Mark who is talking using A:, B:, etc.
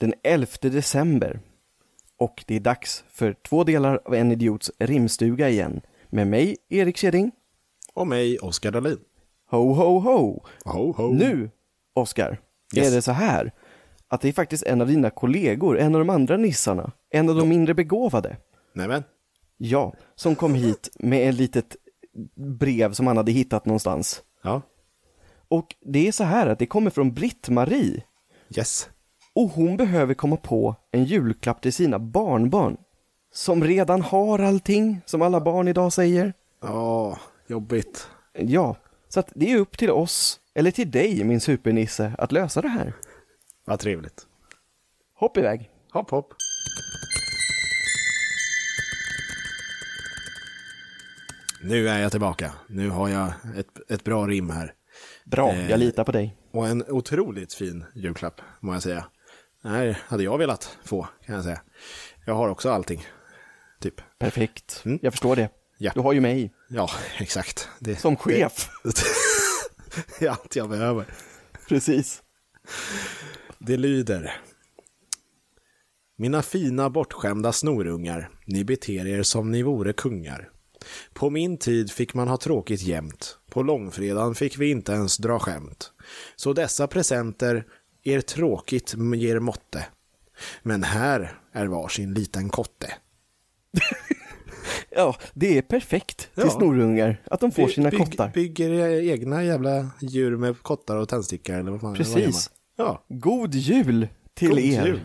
A: den 11 december. Och det är dags för två delar av En Idiots rimstuga igen. Med mig, Erik Kjeding.
B: Och mig, Oskar Dahlin.
A: Ho, ho, ho!
B: Ho, ho.
A: Nu, Oskar,
B: Yes.
A: är det så här att det är faktiskt en av dina kollegor, en av de andra nissarna, en av de mindre begåvade,
B: Nämen.
A: ja, som kom hit med ett litet brev som han hade hittat någonstans.
B: Ja.
A: Och det är så här att det kommer från Britt-Marie
B: Yes.
A: och hon behöver komma på en julklapp till sina barnbarn som redan har allting, som alla barn idag säger.
B: Ja, jobbigt.
A: Ja, så att det är upp till oss, eller till dig min supernisse, att lösa det här.
B: Vad trevligt.
A: Hopp iväg!
B: Hopp, hopp. Nu är jag tillbaka. Nu har jag ett, ett bra rim här.
A: Bra,
B: Eh.
A: jag litar på dig.
B: Och en otroligt fin julklapp, må jag säga. Den här hade jag velat få, kan jag säga. Jag har också allting. Typ.
A: Perfekt,
B: Mm.
A: jag förstår det.
B: Ja.
A: Du har ju mig
B: Ja, exakt. Det,
A: som chef.
B: det är allt jag behöver.
A: Precis.
B: Det lyder. Mina fina bortskämda snorungar, ni beter er som ni vore kungar. På min tid fick man ha tråkigt jämt, på långfredagen fick vi inte ens dra skämt. Så dessa presenter er tråkigt ger måtte. Men här är varsin liten kotte.
A: Ja, det är perfekt till
B: Ja.
A: snorungar att de får sina
B: By- bygg-
A: kottar.
B: Bygger era egna jävla djur med kottar och tändstickor eller vad fan vad gör
A: Precis.
B: man? Ja.
A: God jul till
B: God
A: er!
B: jul.